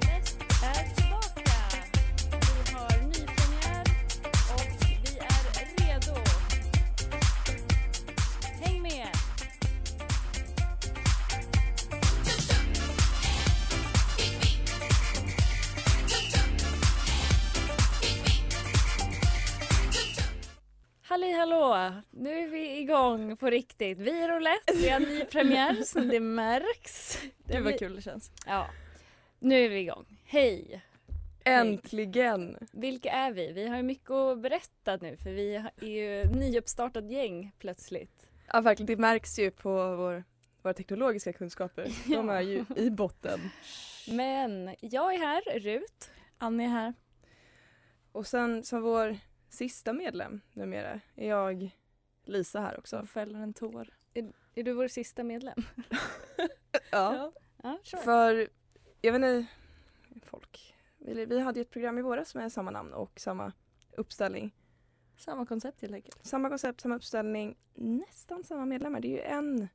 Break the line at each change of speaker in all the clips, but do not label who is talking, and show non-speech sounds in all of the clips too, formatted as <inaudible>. Nest är tillbaka. Vi har nypremiär och vi är redo. Häng med! Halli hallå! Nu är vi igång på riktigt. Vi är roulette, vi har nypremiär så det märks.
Gud
Vi-
vad kul det känns.
Ja. Nu är vi igång. Hej!
Äntligen!
Vilka är vi? Vi har ju mycket att berätta nu för vi är ju nyuppstartat gäng plötsligt.
Ja verkligen, det märks ju på vår, våra teknologiska <laughs> kunskaper. De är ju i botten.
Men jag är här, Rut.
Annie är här. Och sen som vår sista medlem numera är jag Lisa här också. Jag fäller en tår.
Är du vår sista medlem?
<laughs>
Ja,
Ja, sure.
för jag vet inte, folk. Vi vi hade ju ett program i våras med samma namn och samma uppställning.
Samma koncept helt enkelt.
Samma koncept, samma uppställning, nästan samma medlemmar. Det är ju en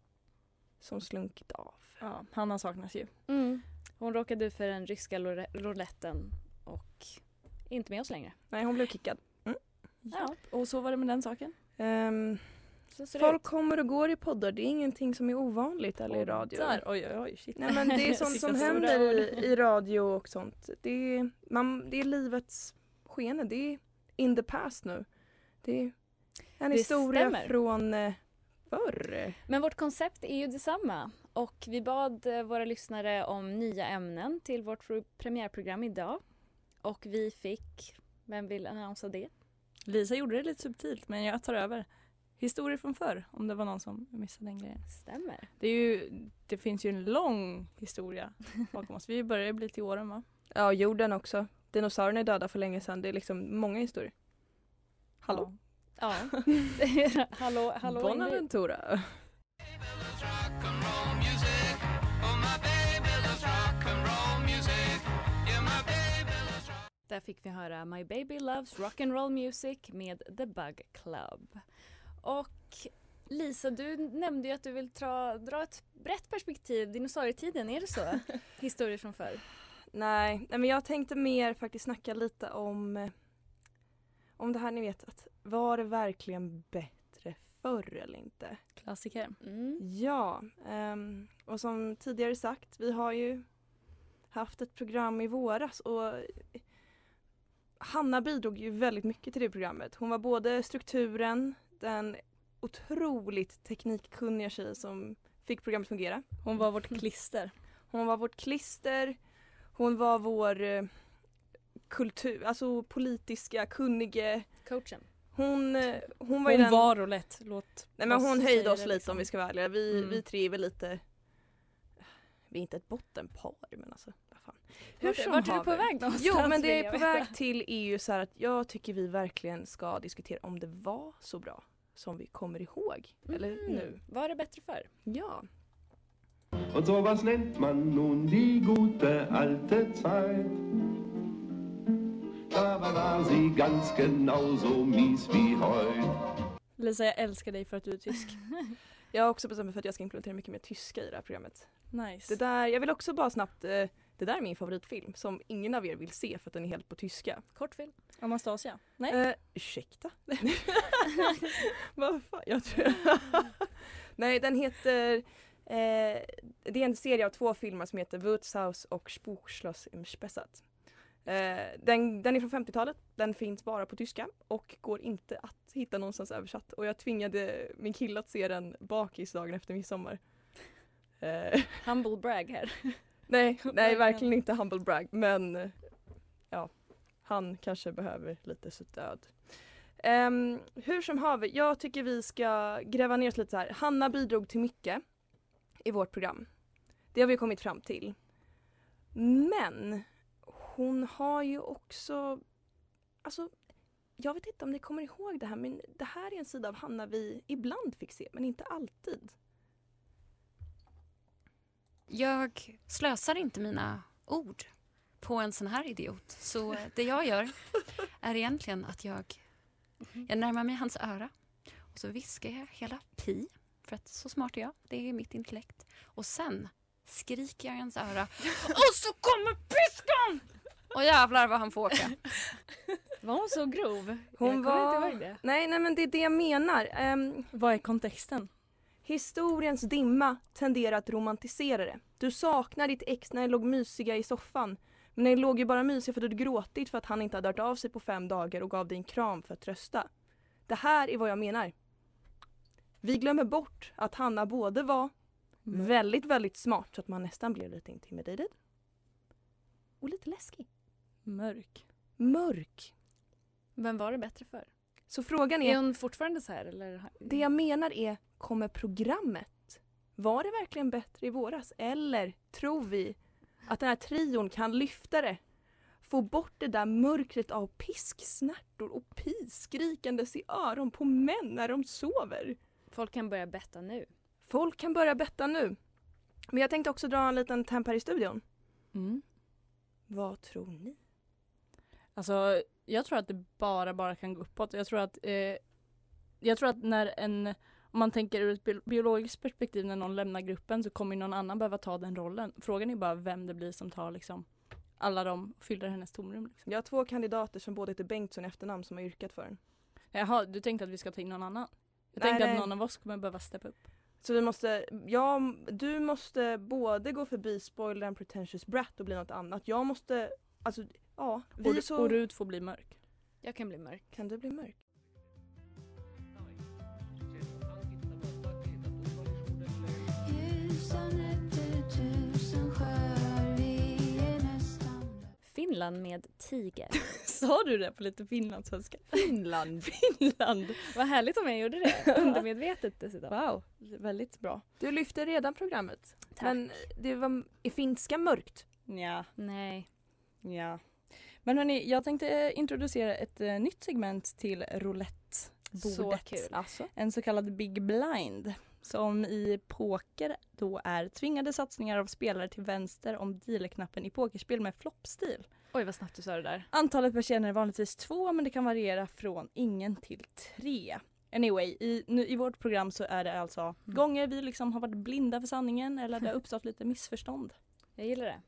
som slunkit av.
Ja, Hanna saknas ju.
Mm. Hon råkade ut för den ryska lore- rouletten och är inte med oss längre.
Nej, hon blev kickad.
Ja,
Och så var det med den saken.
Ehm,
så ser det
Folk
ut.
kommer och går i poddar, det är ingenting som är ovanligt eller i radio.
Där, oj oj oj. Shit.
Nej men det
<laughs>
är sånt
Sista
som
stora
händer
ord.
i, i radio och sånt. Det är, man, det är livets skene, det är in the past nu. Det är en
Det
historia
stämmer.
från eh, förr.
Men vårt koncept är ju detsamma och vi bad eh, våra lyssnare om nya ämnen till vårt pro- premiärprogram idag. Och vi fick, vem vill annonsa det?
Lisa gjorde det lite subtilt men jag tar över. Historier från förr om det var någon som missade den grejen.
Stämmer.
Det, är ju, det finns ju en lång historia bakom oss. Vi börjar bli till åren va?
Ja, och jorden också. Dinosaurierna är döda för länge sedan, det är liksom många historier.
Oh,
Hallå?
<laughs> Ja. hallå, hallå Ingrid.
Bonaventura.
Där fick vi höra My baby loves rock'n'roll music med The Bug Club. Och Lisa, du nämnde ju att du vill dra, dra ett brett perspektiv, dinosaurietiden, är det <laughs> så? Historier från förr.
Nej, nej, men jag tänkte mer faktiskt snacka lite om eh, om det här ni vet att var det verkligen bättre förr eller inte?
Klassiker.
Mm.
Ja, ehm, och som tidigare sagt, vi har ju haft ett program i våras och Hanna bidrog ju väldigt mycket till det programmet. Hon var både strukturen, den otroligt teknikkunniga tjejen som fick programmet fungera.
Hon var vårt klister.
Hon var vårt klister, hon var vår eh, kultur, alltså politiska, kunnige.
Coachen.
Hon, eh, hon var ju
Hon
den...
var roulette. Låt
Nej men
oss
hon
säga
höjde
det,
oss lite
liksom.
om vi ska vara ärliga. Vi,
Mm.
vi tre är väl lite, vi är inte ett bottenpar men alltså vad fan.
Vart,
som
vart är du
haver.
på väg någonstans?
Jo men
vill
det är
jag
på
veta.
väg till är ju så här att jag tycker vi verkligen ska diskutera om det var så bra som vi kommer ihåg. Eller
Mm.
nu.
Var det bättre förr?
Ja.
Und sowas nennt man nun die gute alte Zeit. Da war sie ganz genauso mies wie heut.
Lisa jag älskar dig för att du är tysk.
Jag har också bestämt mig för att jag ska implementera mycket mer tyska i det här programmet.
Nice.
Det där, jag vill också bara snabbt, eh, det där är min favoritfilm som ingen av er vill se för att den är helt på tyska.
Kortfilm.
Anastasia. Nej.
Eh, ursäkta? Vad fan, jag tror... Nej, den heter... Eh, det är en serie av två filmer som heter Wurzhaus och Spukschloss im Spessart. Eh, den, den är från 50-talet, den finns bara på tyska och går inte att hitta någonstans översatt. Och jag tvingade min kille att se den bakis dagen efter midsommar. Eh,
Humble brag här.
<laughs> nej, nej,
Verkligen.
verkligen inte humble brag men eh, ja, han kanske behöver lite stöd. Ehm, hur som haver, jag tycker vi ska gräva ner oss lite så här. Hanna bidrog till mycket i vårt program. Det har vi kommit fram till. Men hon har ju också, alltså jag vet inte om ni kommer ihåg det här men det här är en sida av Hanna vi ibland fick se men inte alltid.
Jag slösar inte mina ord på en sån här idiot. Så det jag gör är egentligen att jag, jag närmar mig hans öra och så viskar jag hela pi, för att så smart är jag. Det är mitt intellekt. Och sen skriker jag i hans öra och så kommer piskan! Och jävlar vad han får åka.
Var hon så grov?
Hon
jag
var-
kommer inte ihåg det.
Nej nej men det är det jag menar. Ehm,
Vad är kontexten?
Historiens dimma tenderar att romantisera det. Du saknar ditt ex när ni låg mysiga i soffan. Men ni låg ju bara mysiga för att du hade gråtit för att han inte hade hört av sig på fem dagar och gav dig en kram för att trösta. Det här är vad jag menar. Vi glömmer bort att Hanna både var väldigt, väldigt smart så att man nästan blev lite intimidated. Och lite läskig.
Mörk.
Mörk.
Vem var det bättre för?
Så frågan
Är
är,
hon fortfarande så här eller?
det jag menar är, kommer programmet Var det verkligen bättre i våras? Eller tror vi att den här trion kan lyfta det? Få bort det där mörkret av pisksnärtor och piskrikandes i öron på män när de sover.
Folk kan börja betta nu.
Folk kan börja betta nu. Men jag tänkte också dra en liten temp här i studion.
Mm.
Vad tror ni?
Alltså, jag tror att det bara, bara kan gå uppåt. Jag tror att, eh, jag tror att när en, om man tänker ur ett bi- biologiskt perspektiv, när någon lämnar gruppen så kommer ju någon annan behöva ta den rollen. Frågan är bara vem det blir som tar liksom alla de, fyller hennes tomrum. Liksom.
Jag har två kandidater som båda heter Bengtsson i efternamn som har yrkat för den.
Jaha, du tänkte att vi ska ta in någon annan? Jag
Nej,
tänkte
nej.
att någon av oss kommer behöva steppa upp.
Så vi måste, ja, du måste både gå förbi spoiler and pretentious brat och bli något annat. Jag måste, alltså ja. Vi
Och,
är
du-
så...
och Rut får bli mörk.
Jag kan bli mörk.
Kan du bli mörk?
Finland med tiger.
Sa du det på lite finlandssvenska?
<laughs>
Finland. <laughs> Finland.
Vad härligt om jag gjorde det. Undermedvetet dessutom.
Wow, väldigt bra.
Du lyfte redan programmet.
Tack.
Men det var, är finska mörkt?
Ja,
Nej.
ja. Men hörni, jag tänkte eh, introducera ett eh, nytt segment till roulettebordet.
Så kul.
Alltså.
En så kallad big blind som i poker då är tvingade satsningar av spelare till vänster om dealerknappen i pokerspel med floppstil.
Oj vad snabbt du sa det där.
Antalet persienner är vanligtvis två men det kan variera från ingen till tre. Anyway, i, nu, i vårt program så är det
Mm.
alltså gånger vi liksom har varit blinda för sanningen eller
<laughs>
det har uppstått lite missförstånd.
Jag gillar det.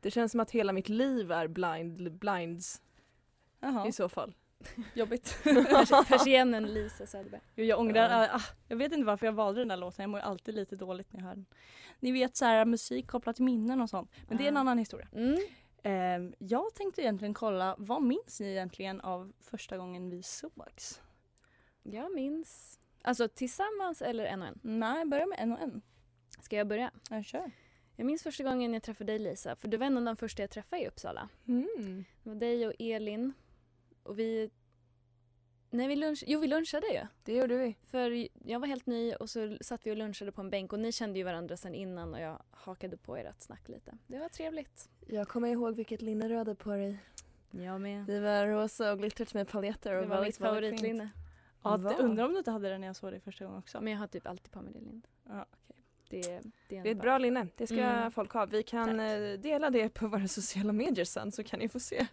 Det känns som att hela mitt liv är blind, blinds
Jaha,
i så fall.
<laughs> jobbigt.
Persiennen Lisa Söderberg.
Jo, Jag ångrar, ah, jag vet inte varför jag valde den där låten, jag mår ju alltid lite dåligt när jag hör den. Ni vet så här musik kopplat till minnen och sånt, men det är en
Ah.
annan historia.
Mm.
Ehm, jag tänkte egentligen kolla, vad minns ni egentligen av första gången vi sågs?
Jag minns. Alltså tillsammans eller en och en?
Nej, börja med en och en.
Ska jag börja?
Jag kör.
Jag minns första gången jag träffade dig Lisa, för du var en av de första jag träffade i Uppsala. Det var dig och Elin. Och vi... Nej, vi lunch... Jo, vi lunchade ju.
Det gjorde vi.
För jag var helt ny och så satt vi och lunchade på en bänk och ni kände ju varandra sedan innan och jag hakade på ert snack lite. Det var trevligt.
Jag kommer ihåg vilket linne du hade på dig.
Jag med.
Det var rosa och liksom- glittrigt med paljetter.
Det var mitt favoritlinne.
Ja,
Va?
det, undrar om du inte hade den när jag såg dig första gången också.
Men jag har typ alltid på mig det linnet.
Ja, okej.
Det, är- det är en
Det är ett bra linne, det ska
Mm.
folk ha. Vi kan
Tack.
eh, dela det på våra <laughs> sociala medier sen så kan ni få se.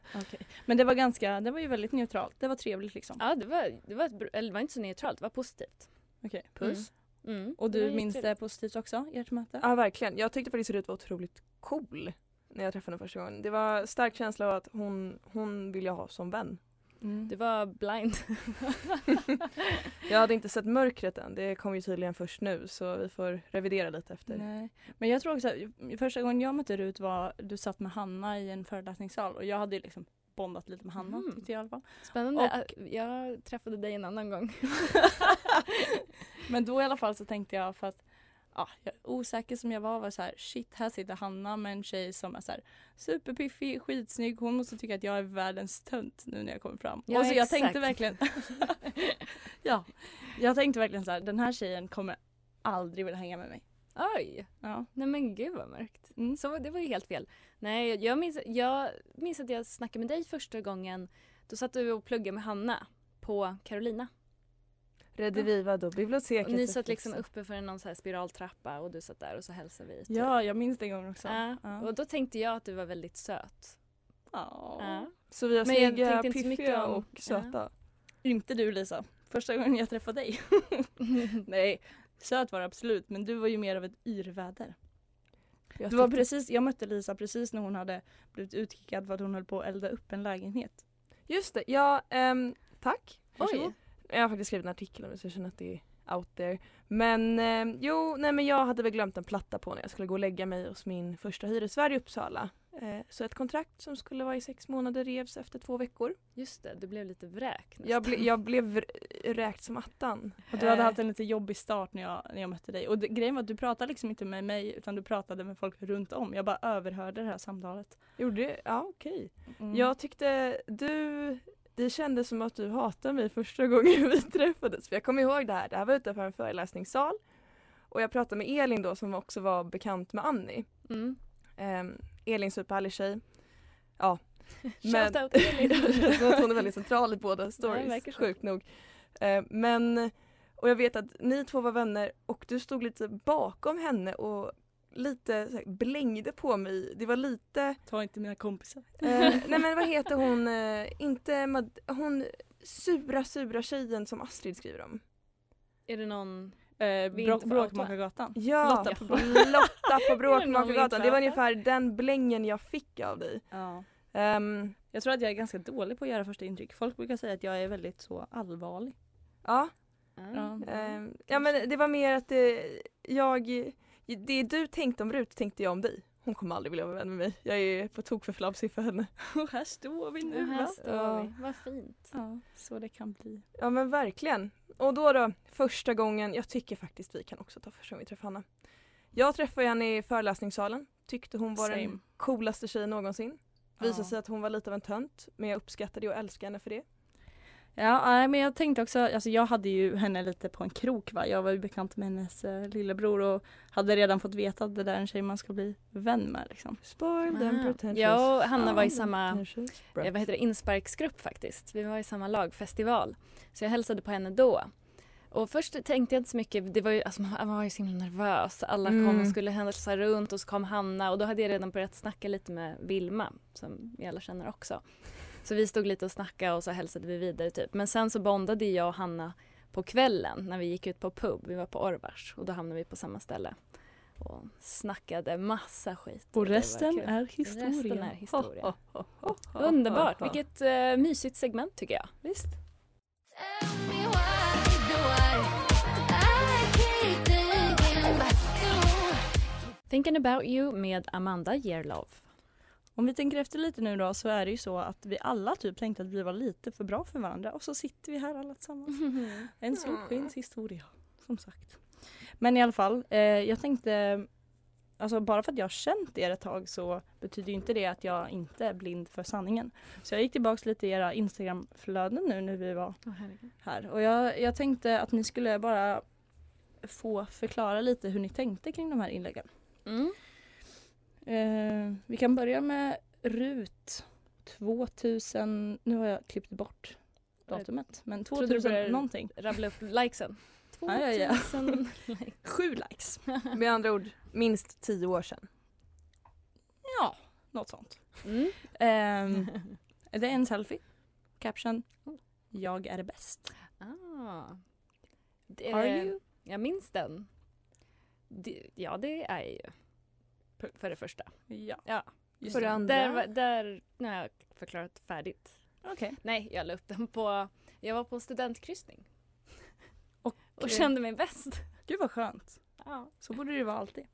Men det var ganska, det var ju väldigt neutralt, det var trevligt liksom.
Ja, det var, det var, ett, br- eller det var inte så neutralt, det var positivt.
Okej,
puss. Mm.
Och
Det
du
var
minns det
jättetrevligt.
positivt också, ert möte?
Ja verkligen. Jag tyckte faktiskt Rut var otroligt cool när jag träffade henne första gången. Det var en stark känsla av att hon, hon vill jag ha som vän.
Mm.
Du var blind. <laughs>
Jag hade inte sett mörkret än, det kom ju tydligen först nu så vi får revidera lite efter.
Nej. Men jag tror också att första gången jag mötte Rut var du satt med Hanna i en föreläsningssal och jag hade ju liksom bondat lite med Hanna
Mm.
tyckte jag i alla fall.
Spännande.
Och-
att Jag träffade dig en annan
<laughs>
gång.
Men då i alla fall så tänkte jag för att ja, jag, osäker som jag var var så här shit här sitter Hanna med en tjej som är så här superpiffig, skitsnygg. Hon måste tycka att jag är världens tönt nu när jag kommer fram.
Ja,
och så jag
exakt.
tänkte verkligen <laughs> Ja, jag tänkte verkligen så här den här tjejen kommer aldrig vilja hänga med mig.
Oj!
Ja.
Nej men gud vad mörkt.
Mm.
Så det var ju helt fel. Nej, jag- jag minns, jag minns att jag snackade med dig första gången. Då satt du och pluggade med Hanna på Carolina.
Rediviva då, biblioteket.
Och ni
i
satt liksom
Flexa.
uppe för någon så här spiraltrappa och du satt där och så hälsade vi. typ.
Ja, jag minns den gången också.
Ja,
Ja.
Och då tänkte jag att du var väldigt söt.
Ja.
Ja.
Så vi har
Men jag
snygga,
tänkte inte så mycket
piffiga
om-
och söta.
Inte du Lisa. Första gången jag träffade dig. <laughs> Nej, söt var det absolut men du var ju mer av ett yrväder.
Jag
Det var
tyckte-
precis, jag mötte Lisa precis när hon hade blivit utkickad för att hon höll på att elda upp en lägenhet.
Just det, ja, ehm, tack.
Oj!
Jag har faktiskt skrivit en artikel om det så jag känner att det är out there. Men ehm, jo, nej men jag hade väl glömt en platta på när jag skulle gå och lägga mig hos min första hyresvärd i Uppsala. Eh, så ett kontrakt som skulle vara i sex månader revs efter två veckor.
Just det, du blev lite vräk nästan.
Jag, ble, jag blev vr- räkt som attan.
Och du hade
Eh,
haft en lite jobbig start när jag, när jag mötte dig. Och det, grejen var att du pratade liksom inte med mig utan du pratade med folk runt om. Jag bara överhörde det här samtalet.
Gjorde, ja okej.
Mm.
Jag tyckte du, det kändes som att du hatade mig första gången <laughs> vi träffades. För jag kommer ihåg det här, det här var utanför en föreläsningssal. Och jag pratade med Elin då som också var bekant med Annie.
Mm.
Ehm, Elin superhärlig tjej.
<laughs>
Ja.
Shout out
<laughs>
Elin!
det känns som att hon är väldigt central i båda stories,
verkar så.
sjukt nog. Ehm, men, och jag vet att ni två var vänner och du stod lite bakom henne och lite så här, blängde på mig. Det var lite
Ta inte mina kompisar.
<laughs> Eh, nej men vad heter hon, eh, inte Mad- hon sura sura tjejen som Astrid skriver om.
Är det någon...
Eh,
Vi är
bråk,
inte för outa.
Bråkmakargatan.
Ja,
Lotta
Lotta
på
på,
Bråk-
<laughs> Bråkmakargatan. Det var
vi inte
ungefär den blängen jag fick av dig.
Ja.
Ehm,
Jag tror att jag är ganska dålig på att göra första intryck. Folk brukar säga att jag är väldigt så allvarlig.
ja,
Ja.
ehm, ja men det var mer att det, jag, det du tänkte om Rut tänkte jag om dig. Hon kommer aldrig vilja vara vän med mig. Jag är på tok för flamsig för henne.
<laughs> Och här står vi
Nu här
va?
står vi. Vad fint.
Ja, så det kan bli.
Ja men verkligen. Och då då, första gången, jag tycker faktiskt vi kan också ta första gången vi träffar Hanna. Jag träffade henne i föreläsningssalen, tyckte hon var
Same.
den coolaste tjejen någonsin. Visade
Ja.
sig att hon var lite av en tönt, men jag uppskattade och älskade henne för det.
Ja, nej, men jag tänkte också, alltså jag hade ju henne lite på en krok va. Jag var ju bekant med hennes eh, lillebror och hade redan fått veta att det där är en tjej man ska bli vän med liksom.
Spoil them pretentious.
Jag och Ah. Hanna
Ah.
var i
Spoil them
samma
pretentious.
eh, vad heter det, insparksgrupp faktiskt. Vi var i samma lagfestival. Så jag hälsade på henne då. Och först tänkte jag inte så mycket, det var ju, alltså man man var ju så himla nervös. Alla kom och
Mm.
skulle hälsa runt och så kom Hanna och då hade jag redan börjat snacka lite med Vilma som vi alla känner också. Så vi stod lite och snackade och så hälsade vi vidare typ. Men sen så bondade jag och Hanna på kvällen när vi gick ut på pub. Vi var på Orvars och då hamnade vi på samma ställe och snackade massa skit.
Och
Det var
resten
kul.
är historia.
Resten är historia.
<laughs>
Ho, ho, ho, ho,
Underbart,
ho, ho.
vilket eh, mysigt segment tycker jag. Visst? Thinking about you med Amanda Gerlov.
Om vi tänker efter lite nu då så är det ju så att vi alla typ tänkte att vi var lite för bra för varandra och så sitter vi här alla tillsammans. En solskens historia, som sagt. Men i alla fall, eh, jag tänkte, alltså bara för att jag har känt er ett tag så betyder ju inte det att jag inte är blind för sanningen. Så jag gick tillbaks lite i era Instagramflöden nu när vi var här och jag, jag tänkte att ni skulle bara få förklara lite hur ni tänkte kring de här inläggen.
Mm.
Eh, vi kan börja med RUT 2000, nu har jag klippt bort datumet, men
trodde du
2000
började-
någonting.
Rabbla upp likesen.
Ja, ja, ja.
2000 likes.
Sju likes.
Med andra ord, minst tio år sedan.
Ja, något sånt.
Mm.
<laughs> Ehm, det är en selfie. Caption. Jag är bäst.
Ah. Det,
Are you?
Jag minns den. Det, ja, det är jag ju. För det första.
Ja.
Ja.
Just
För det
det.
andra.
Där, var- där när jag förklarat färdigt.
Okej.
Nej, jag la upp den på, jag var på studentkryssning.
Och,
Och kände mig bäst.
Gud vad skönt.
Ja,
Så borde det ju vara alltid.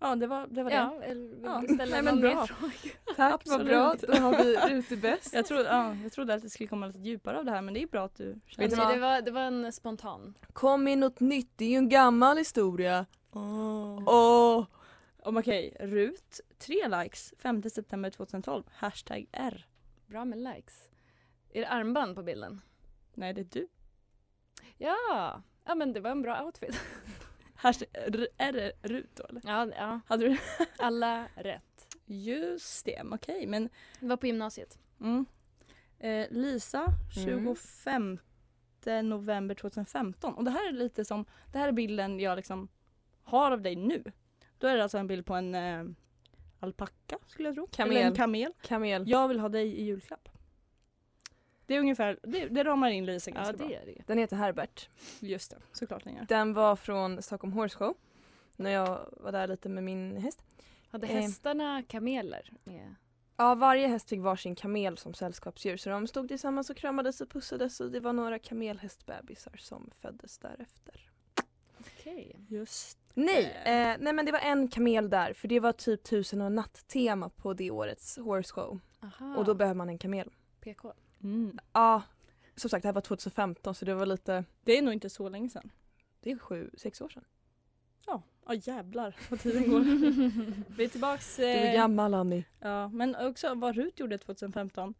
Ja det var det. Var
ja eller vill
Ja.
du ställa
Nej, men
någon
bra.
mer fråga?
det. Tack
Vad bra, då har
<laughs>
vi ute bäst.
Jag trodde, ja, jag trodde att det skulle komma lite djupare av det här men det är bra att du
Vet du
Nej,
vad?
det, var, det var en spontan.
Kom in något nytt, det är ju en gammal historia. Åh. Oh.
Om okej, Rut, 3 likes 5 september 2012, hashtag R.
Bra med likes. Är det armband på bilden?
Nej det är du.
Ja, ja men det var en bra outfit. <laughs>
Hashtag R, R Rut då eller?
Ja, ja.
Hade du? <laughs>
alla rätt.
Just det, men okej men.
Det var på gymnasiet.
Mm. Eh, Lisa, 25 november 2015. Och det här är lite som, det här är bilden jag liksom har av dig nu. Då är det alltså en bild på en eh, alpacka skulle jag tro.
Kamel. Mm.
Eller en kamel.
Kamel.
Jag vill ha dig i julklapp. Det är ungefär, det, det ramar in Lisa ganska bra.
är det ju.
Den heter Herbert.
Just det, såklart den gör.
Den var från Stockholm Horse Show. När jag var där lite med min häst.
Hade
Eh.
hästarna kameler? Med?
Ja, varje häst fick varsin kamel som sällskapsdjur så de stod tillsammans och kramades och pussades och det var några kamelhästbebisar som föddes därefter.
Okej.
Just
Nej, eh, nej men det var en kamel där för det var typ tusen och en natt-tema på det årets horse show
Aha.
och då behöver man en kamel.
PK.
mm.
Ja, som sagt det här var 2015 så det var lite,
Det är nog inte så länge sedan.
det är sju, sex år sedan.
Ja, ja jävlar vad tiden går. Vi är tillbaks.
Du är
Eh,
gammal Annie.
ja, men också vad Rut gjorde 2015.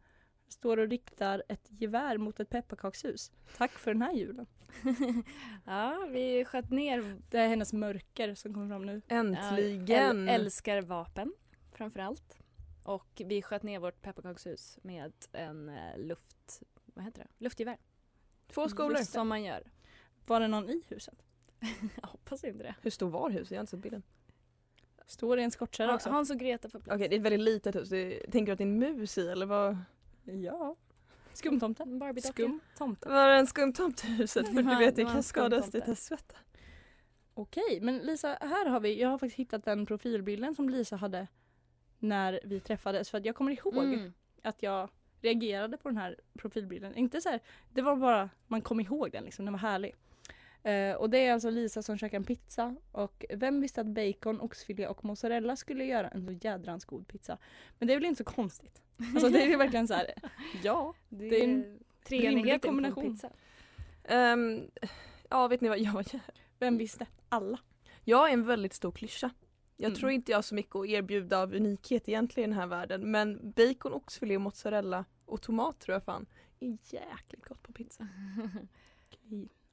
Står och riktar ett gevär mot ett pepparkakshus. Tack för den här julen.
<laughs> ja, vi sköt ner.
Det är hennes mörker som kommer fram nu.
Äntligen!
Ja, äl- älskar vapen framför allt. Och vi sköt ner vårt pepparkakshus med en eh, luft... Vad heter det? Luftgevär.
Två skolor.
Just Som man gör.
Var det någon i huset?
Jag hoppas inte det.
Hur stor var huset? Jag har inte sett bilden.
Står det en skottkärra
Han,
också?
Hans och Greta får plats.
Okej, det är ett väldigt litet hus. Det, tänker du att det är en mus i eller vad?
Ja. Skumtomten.
En Barbie-docka.
Skum tomte.
Var det en skumtomt i huset? För
Det
du
var-
vet,
det
det
var en
kan skadas
skumtomte.
ditt svett.
Okej, men Lisa, här har vi, jag har faktiskt hittat den profilbilden som Lisa hade när vi träffades. För att jag kommer ihåg
Mm.
att jag reagerade på den här profilbilden. Inte så här, det var bara, man kom ihåg den liksom, den var härlig. Eh, och det är alltså Lisa som käkar en pizza och vem visste att bacon, oxfilé och mozzarella skulle göra en så jädrans god pizza. Men det är väl inte så konstigt? Alltså det är ju verkligen
<laughs>
så här, ja.
Det,
Det är
är
en
en treenighet på en
kombination.
pizza.
Ehm, ja, vet ni vad jag gör?
Vem visste? Alla.
Jag är en väldigt stor klyscha. Jag
Mm.
tror inte jag har så mycket att erbjuda av unikhet egentligen i den här världen men bacon, oxfilé, mozzarella och tomat tror jag fan är jäkligt gott på pizza.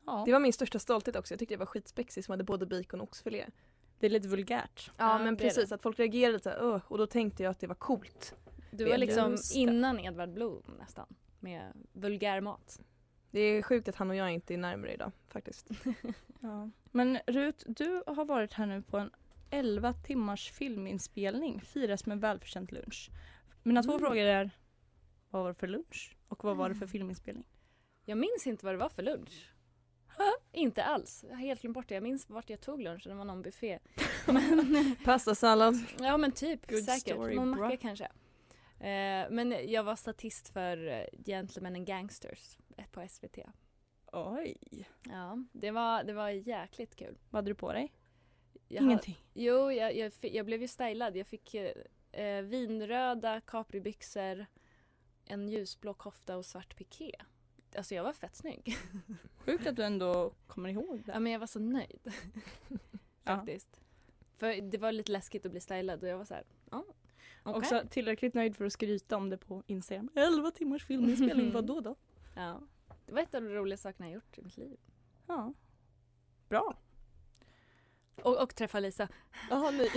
Ja.
Det var min största stolthet också. Jag tyckte jag var skitspexig som hade både bacon och oxfilé.
Det är lite vulgärt.
Ja,
Ja,
men
det är
precis att folk reagerade lite "Åh", och då tänkte jag att det var coolt.
Du
Det
var
är
liksom
just det.
innan Edvard Blom nästan. Med vulgär mat.
Det är sjukt att han och jag inte är närmare idag
<laughs>
faktiskt.
Ja. Men Rut, du har varit här nu på en 11 timmars filminspelning, firas med välförtjänt lunch. Mina
Mm.
två frågor är, vad var det för lunch och vad var det för filminspelning?
Jag minns inte vad det var för <laughs> lunch. Inte alls. Jag har helt glömt bort det. Jag minns vart jag tog lunchen. Det var någon buffé. <laughs> Men,
Pastasallad.
ja men typ
Good
säkert.
story,
någon macka
bra.
kanske. Eh, men jag var statist för eh, Gentlemen and Gangsters eh, på SVT.
Oj.
Ja, det var, det var jäkligt kul.
Vad hade du på dig?
Jag hade-
Ingenting.
Jo, jag, jag, fi- jag blev ju stylad. Jag fick eh, eh, vinröda capribyxor, en ljusblå kofta och svart piké. Alltså jag var fett <laughs> snygg.
Sjukt att du ändå kommer ihåg
Ja,
det.
men jag var så nöjd <laughs>
Ja.
faktiskt. För det var lite läskigt att bli stylad och jag var så här, ja, okej.
Också tillräckligt nöjd för att skryta om det på Instagram. 11 timmars
<laughs>
filminspelning, vad då då?
Ja. Det var ett av de roliga sakerna jag gjort i mitt liv.
Ja. Bra.
Och, och träffa <laughs> Lisa.
Jaha, nej. <laughs>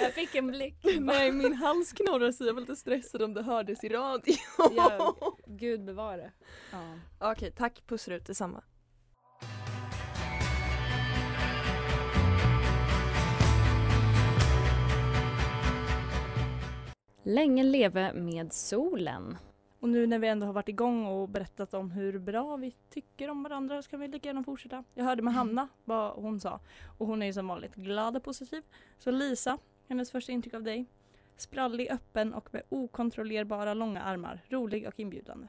Jag fick en blick.
<laughs> Nej, min hals knorrar så jag var lite stressad om det hördes i radio.
Jag, <laughs>
<laughs>
Gud bevare. Ja.
Okej, tack. Puss ut detsamma.
Länge leve med solen.
Och nu när vi ändå har varit igång och berättat om hur bra vi tycker om varandra så kan vi lika gärna fortsätta. Jag hörde med Hanna vad hon sa och hon är ju som vanligt glad och positiv. Så Lisa, hennes första intryck av dig. Sprallig, öppen och med okontrollerbara långa armar. Rolig och inbjudande.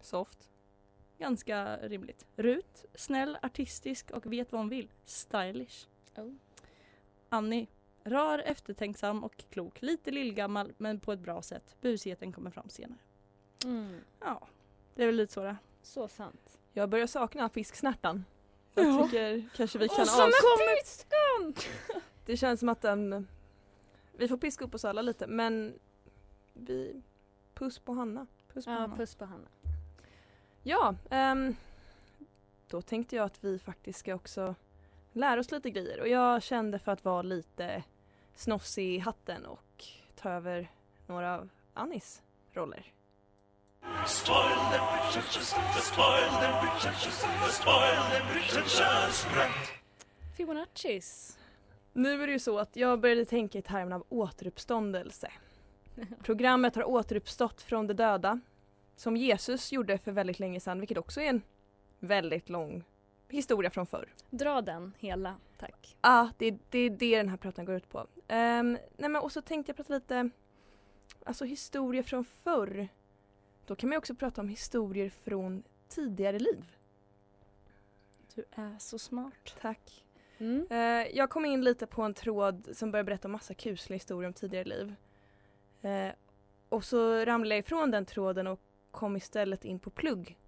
Soft.
Ganska rimligt. Rut, snäll, artistisk och vet vad hon vill. Stylish.
Oh.
Annie, rar, eftertänksam och klok. Lite lillgammal men på ett bra sätt. Busigheten kommer fram senare.
Mm.
Ja, det är väl lite så det.
Så sant.
Jag börjar sakna fisksnärtan. Jag
Ja.
tycker kanske vi kan
Och som en
av...
syskon!
Det känns som att den... Vi får piska upp oss alla lite men vi... Puss på Hanna.
Puss på
Ja,
honom.
puss på Hanna.
Ja, ehm, då tänkte jag att vi faktiskt ska också lära oss lite grejer och jag kände för att vara lite snofsig i hatten och ta över några av Annis roller.
Fibonaccis.
Nu är det ju så att jag började tänka i termen av återuppståndelse. Programmet har återuppstått från de döda som Jesus gjorde för väldigt länge sedan vilket också är en väldigt lång historia från förr.
Dra den hela, tack.
Ja, det, det är det den här pratan går ut på. Ehm, nej men och så tänkte jag prata lite, alltså historia från förr. Då kan man ju också prata om historier från tidigare liv.
Du är så smart.
Tack.
Mm.
Eh, jag kom in lite på en tråd som började berätta massa kusliga historier om tidigare liv. Eh, och så ramlade jag ifrån den tråden och kom istället in på plugg.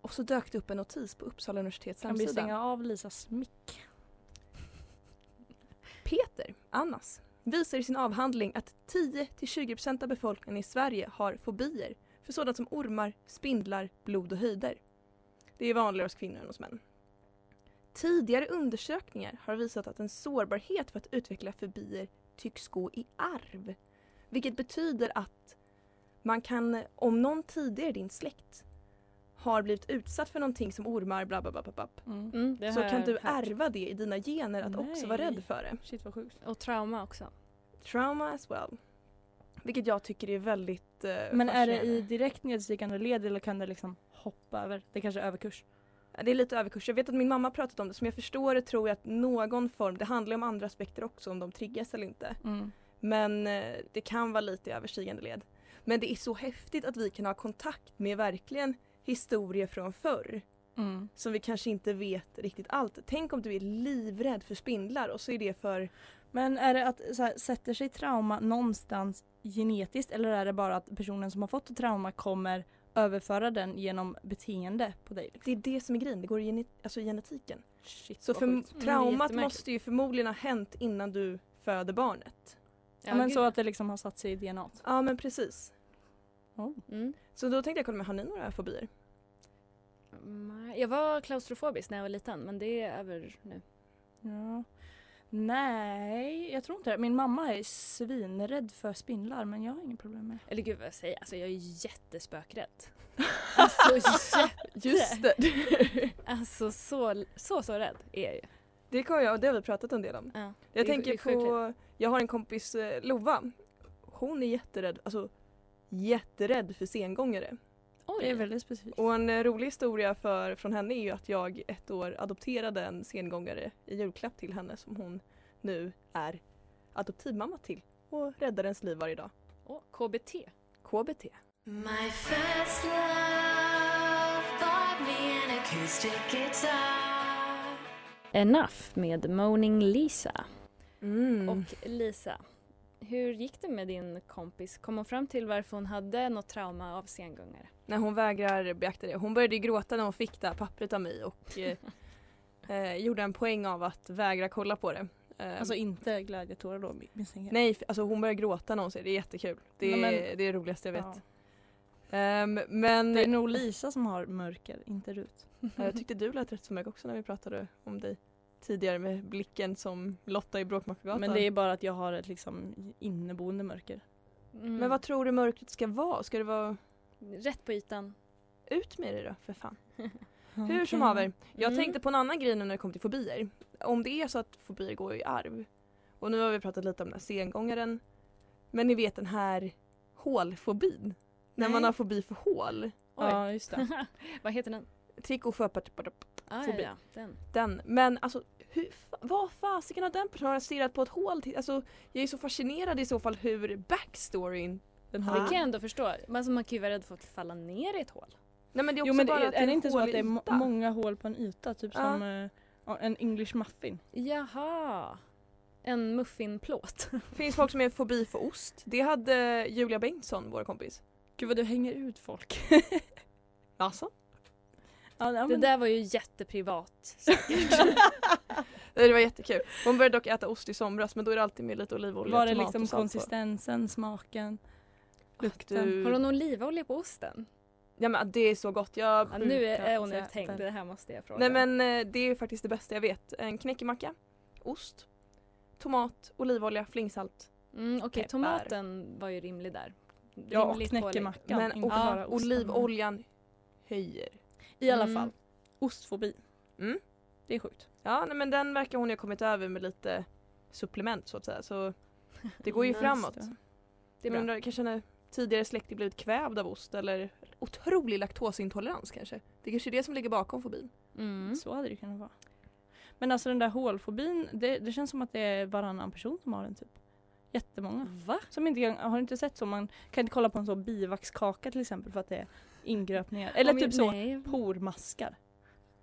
Och så dök det upp en notis på Uppsala universitets
Kan vi
hemsida.
stänga av Lisas mick?
Peter, Annas, visar i sin avhandling att 10-20% av befolkningen i Sverige har fobier för sådant som ormar, spindlar, blod och höjder. Det är vanligare hos kvinnor än hos män. Tidigare undersökningar har visat att en sårbarhet för att utveckla fobier tycks gå i arv. Vilket betyder att man kan, om någon tidigare i din släkt har blivit utsatt för någonting som ormar, bla bla bla, bla, bla
Mm.
Mm, det
så
har
kan
jag
du
hört.
ärva det i dina gener att också vara
Nej.
rädd för det
Shit vad sjukt.
Och trauma också.
trauma as well. Vilket jag tycker är väldigt eh,
Men är det
fascinerande.
i direkt nedstigande led eller kan det liksom hoppa över? Det kanske är överkurs.
Det är lite överkurs. Jag vet att min mamma har pratat om det, som jag förstår det tror jag att någon form, det handlar ju om andra aspekter också om de triggas eller inte.
Mm.
Men eh, det kan vara lite i överstigande led. Men det är så häftigt att vi kan ha kontakt med verkligen historier från förr
Mm.
som vi kanske inte vet riktigt allt. Tänk om du är livrädd för spindlar och så är det för
Men är det att så här, sätter sig trauma någonstans genetiskt eller är det bara att personen som har fått ett trauma kommer överföra den genom beteende på dig?
det är det som är grejen, det går i gene- alltså i genetiken.
Shit,
Så
vad
för,
sjukt.
Mm, det är
traumat
jättemärkligt.
måste ju förmodligen ha hänt innan du föder barnet.
ja, men så att det liksom har satt sig i DNA. t.
Ja men precis.
Mm.
Så då tänkte jag kolla med, har ni några fobier?
Mm, Jag var klaustrofobisk när jag var liten men det är över nu.
Ja. Nej, jag tror inte det. Min mamma är svinrädd för spindlar men jag har inget problem med
Eller gud vad jag säger, alltså jag är jättespökrädd.
<laughs>
alltså jätte.
det!
Alltså så, så, så rädd är jag ju.
Det kommer jag och det har vi pratat en del om.
Ja.
Jag
Det är-
tänker
det är
på, jag har en kompis eh, Lova. Hon är jätterädd, alltså jätterädd för sengångare.
det. Det är väldigt specifikt.
Och en eh, rolig historia för, från henne är ju att jag ett år adopterade en sengångare i julklapp till henne som hon nu är adoptivmamma till och räddar ens liv varje dag.
Åh, KBT.
KBT.
My first love bought me an acoustic guitar
Enough med Moaning Lisa.
Mm.
Och Lisa, hur gick det med din kompis? Kom hon fram till varför hon hade något trauma av sengångare?
När hon vägrar beakta det. Hon började ju gråta när hon fick det här pappret av mig och
<laughs>
eh, eh, gjorde en poäng av att vägra kolla på det. Eh,
Alltså inte glädjetårar då misstänker jag.
nej, f- alltså hon börjar gråta när hon ser det. Det är jättekul. Det är,
Nej, men-
det, är det roligaste jag vet.
Ja.
Ehm, men
Det är nog Lisa som har mörker, inte Rut.
Eh, jag tyckte du lät rätt som mig också när vi pratade om dig tidigare med blicken som Lotta i Bråkmakargatan.
Men det är bara att jag har ett liksom inneboende mörker.
Mm.
men vad tror du mörkret ska vara? Ska det vara
Rätt på ytan.
ut med det då för
<laughs>
fan? Hur som haver, jag
Mm.
tänkte på en annan grej nu när det kommer till fobier. Om det är så att fobier går i arv. Och nu har vi pratat lite om den här sengångaren. Men ni vet den här hålfobin. När man
Nej.
har fobi för hål.
Ja <laughs> just det.
<laughs> vad heter den?
Trick och sjöpart,
Ah, ja,
Fobi.
ja, den.
den. Men alltså hur, fa- vad fasiken har den personen stirrat på ett hål till? Alltså jag är så fascinerad i så fall hur backstoryn den har.
Det kan jag ändå förstå. Men alltså, man kan ju vara rädd för att falla ner i ett hål.
Nej men det är också
Jo men det
bara
är,
att
är det inte så
hål
att det är
i
må-
ytan.
många hål på en yta? Typ
Ja.
som eh, ja, en English muffin.
Jaha. En muffinplåt.
Finns folk som är fobi för ost? Det hade Julia Bengtsson, vår kompis.
Gud vad du hänger ut folk.
Alltså?
<laughs> ja, ja,
Det
men,
där var ju jätteprivat.
<laughs> Det var jättekul. Hon började dock äta ost i somras men då är det alltid med lite olivolja,
var det
tomat
liksom
och salt på.
konsistensen, smaken? lukten?
Du...
Har hon olivolja på osten?
Ja men det är så gott. Jag...
Ja, nu är, är hon
Sjuka
uttänkt.
jävel.
Det här måste jag fråga.
Nej men eh, det är ju faktiskt det bästa jag vet. En knäckemacka, ost, tomat, olivolja, flingsalt.
Mm, Okej,
Peppar.
tomaten var ju rimlig där.
Ja och
Rimligt pålägg.
knäckemackan.
men
inte
och,
bara osten.
olivoljan höjer.
I alla
Mm.
fall, ostfobi.
Mm.
Det är sjukt.
Ja nej, men den verkar hon ju ha kommit över med lite supplement så att säga. Så det
<laughs>
går ju
Nice,
framåt.
då.
Det är undrar, kanske när tidigare släkting blivit kvävd av ost eller otrolig laktosintolerans kanske. Det är kanske är det som ligger bakom fobin.
Mm.
Så hade det kunnat vara. Men alltså den där hålfobin, det, det känns som att det är varannan person som har den typ. Jättemånga.
Va?
Som inte, kan- har du inte sett så? Man kan inte kolla på en sån bivaxkaka till exempel för att det är ingröpningar. Eller
Om
typ
jag-
så
Nej.
pormaskar.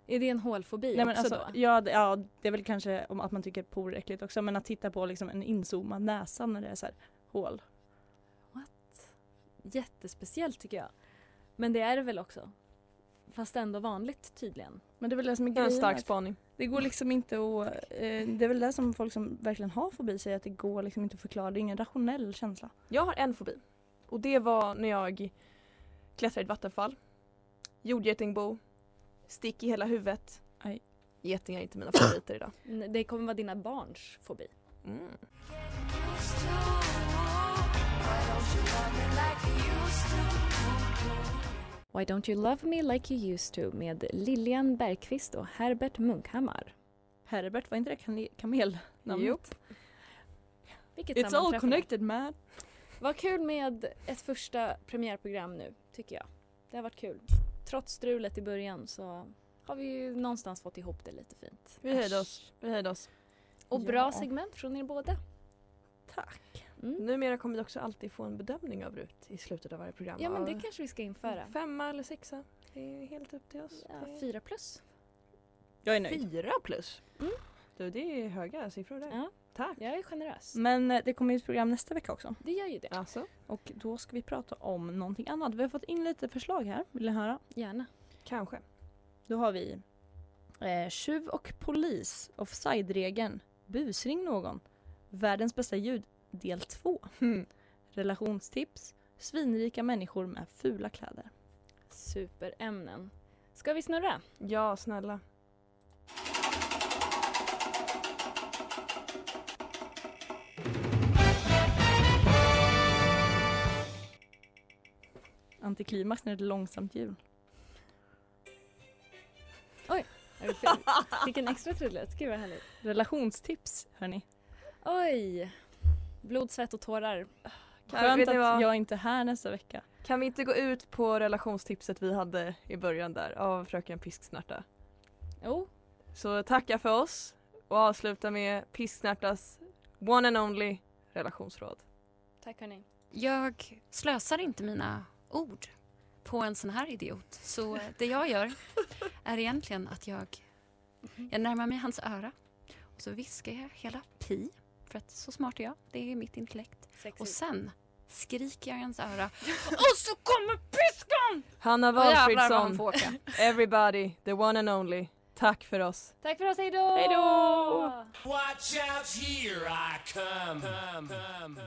Är det en hålfobi
Nej, men
också
alltså,
då?
ja, det- ja, det är väl kanske om att man tycker por är äckligt också men att titta på liksom en inzoomad näsa när det är så här hål.
Jättespeciellt tycker jag. Men det är det väl också. Fast ändå vanligt tydligen.
Men det är väl det som är
Det är en
grejen.
stark
att
spaning.
Det går liksom inte att, eh, det är väl det som folk som verkligen har fobi säger att det går liksom inte att förklara, det är ingen rationell känsla.
Jag har en fobi. Och det var när jag klättrade i ett vattenfall. Jordgetingbo. Stick i hela huvudet.
Aj.
Getingar är inte mina favoriter
<coughs>
idag.
N- Det kommer vara dina barns fobi.
Mm.
Why don't you love me like you used to med Lilian Bergqvist och Herbert Munkhammar.
Herbert, var inte det kane- kamelnamnet?
Jopp. Vilket
It's all
sammanträffande.
connected man.
Vad kul med ett första premiärprogram nu, tycker jag. Det har varit kul. Trots strulet i början så har vi ju någonstans fått ihop det lite fint.
Vi höjde oss. Vi höjde oss.
Och bra
Ja.
segment från er båda.
Tack.
Mm.
Numera kommer vi också alltid få en bedömning av RUT i slutet av varje program.
Ja men
Av
det kanske vi ska införa.
Femma eller sexa. Det är helt upp till oss.
Ja,
Det är
fyra plus.
Jag är nöjd.
Fyra plus?
Mm.
Du, det är höga siffror där.
Ja,
Tack.
jag är generös.
Men eh, det kommer ju ett program nästa vecka också.
Det gör ju det.
Alltså,
Och då ska vi prata om någonting annat. Vi har fått in lite förslag här, vill ni höra?
Gärna.
kanske.
Då har vi eh, Tjuv och polis, Offside-regeln, Busring någon, Världens bästa ljud, del 2, Relationstips, Svinrika människor med fula kläder.
Superämnen. Ska vi snurra?
Ja, snälla.
Antiklimax när det är ett långsamt hjul.
Är det <laughs> fel? Fick en extra trudelutt. Gud vad härligt.
Relationstips, hörni.
Oj! Blod, svett och tårar.
Kan-
Skönt
vet ni
att
vad?
jag inte är här nästa vecka.
Kan vi inte gå ut på relationstipset vi hade i början där av fröken Pisksnärta?
Jo,
Så tacka för oss och avsluta med Pisksnärtas one and only relationsråd.
tack hörni.
Jag slösar inte mina ord på en sån här idiot. Så det jag gör är egentligen att jag, jag närmar mig hans öra och så viskar jag hela pi, för att så smart är jag. Det är mitt intellekt. Och
Sexigt.
sen skriker jag i hans öra och så kommer piskan!
Hanna
Och jävlar vad
Valfridsson,
han får åka.
everybody, the one and only. Tack för oss.
Tack för oss, hejdå!
Hejdå!
Watch out, here I come.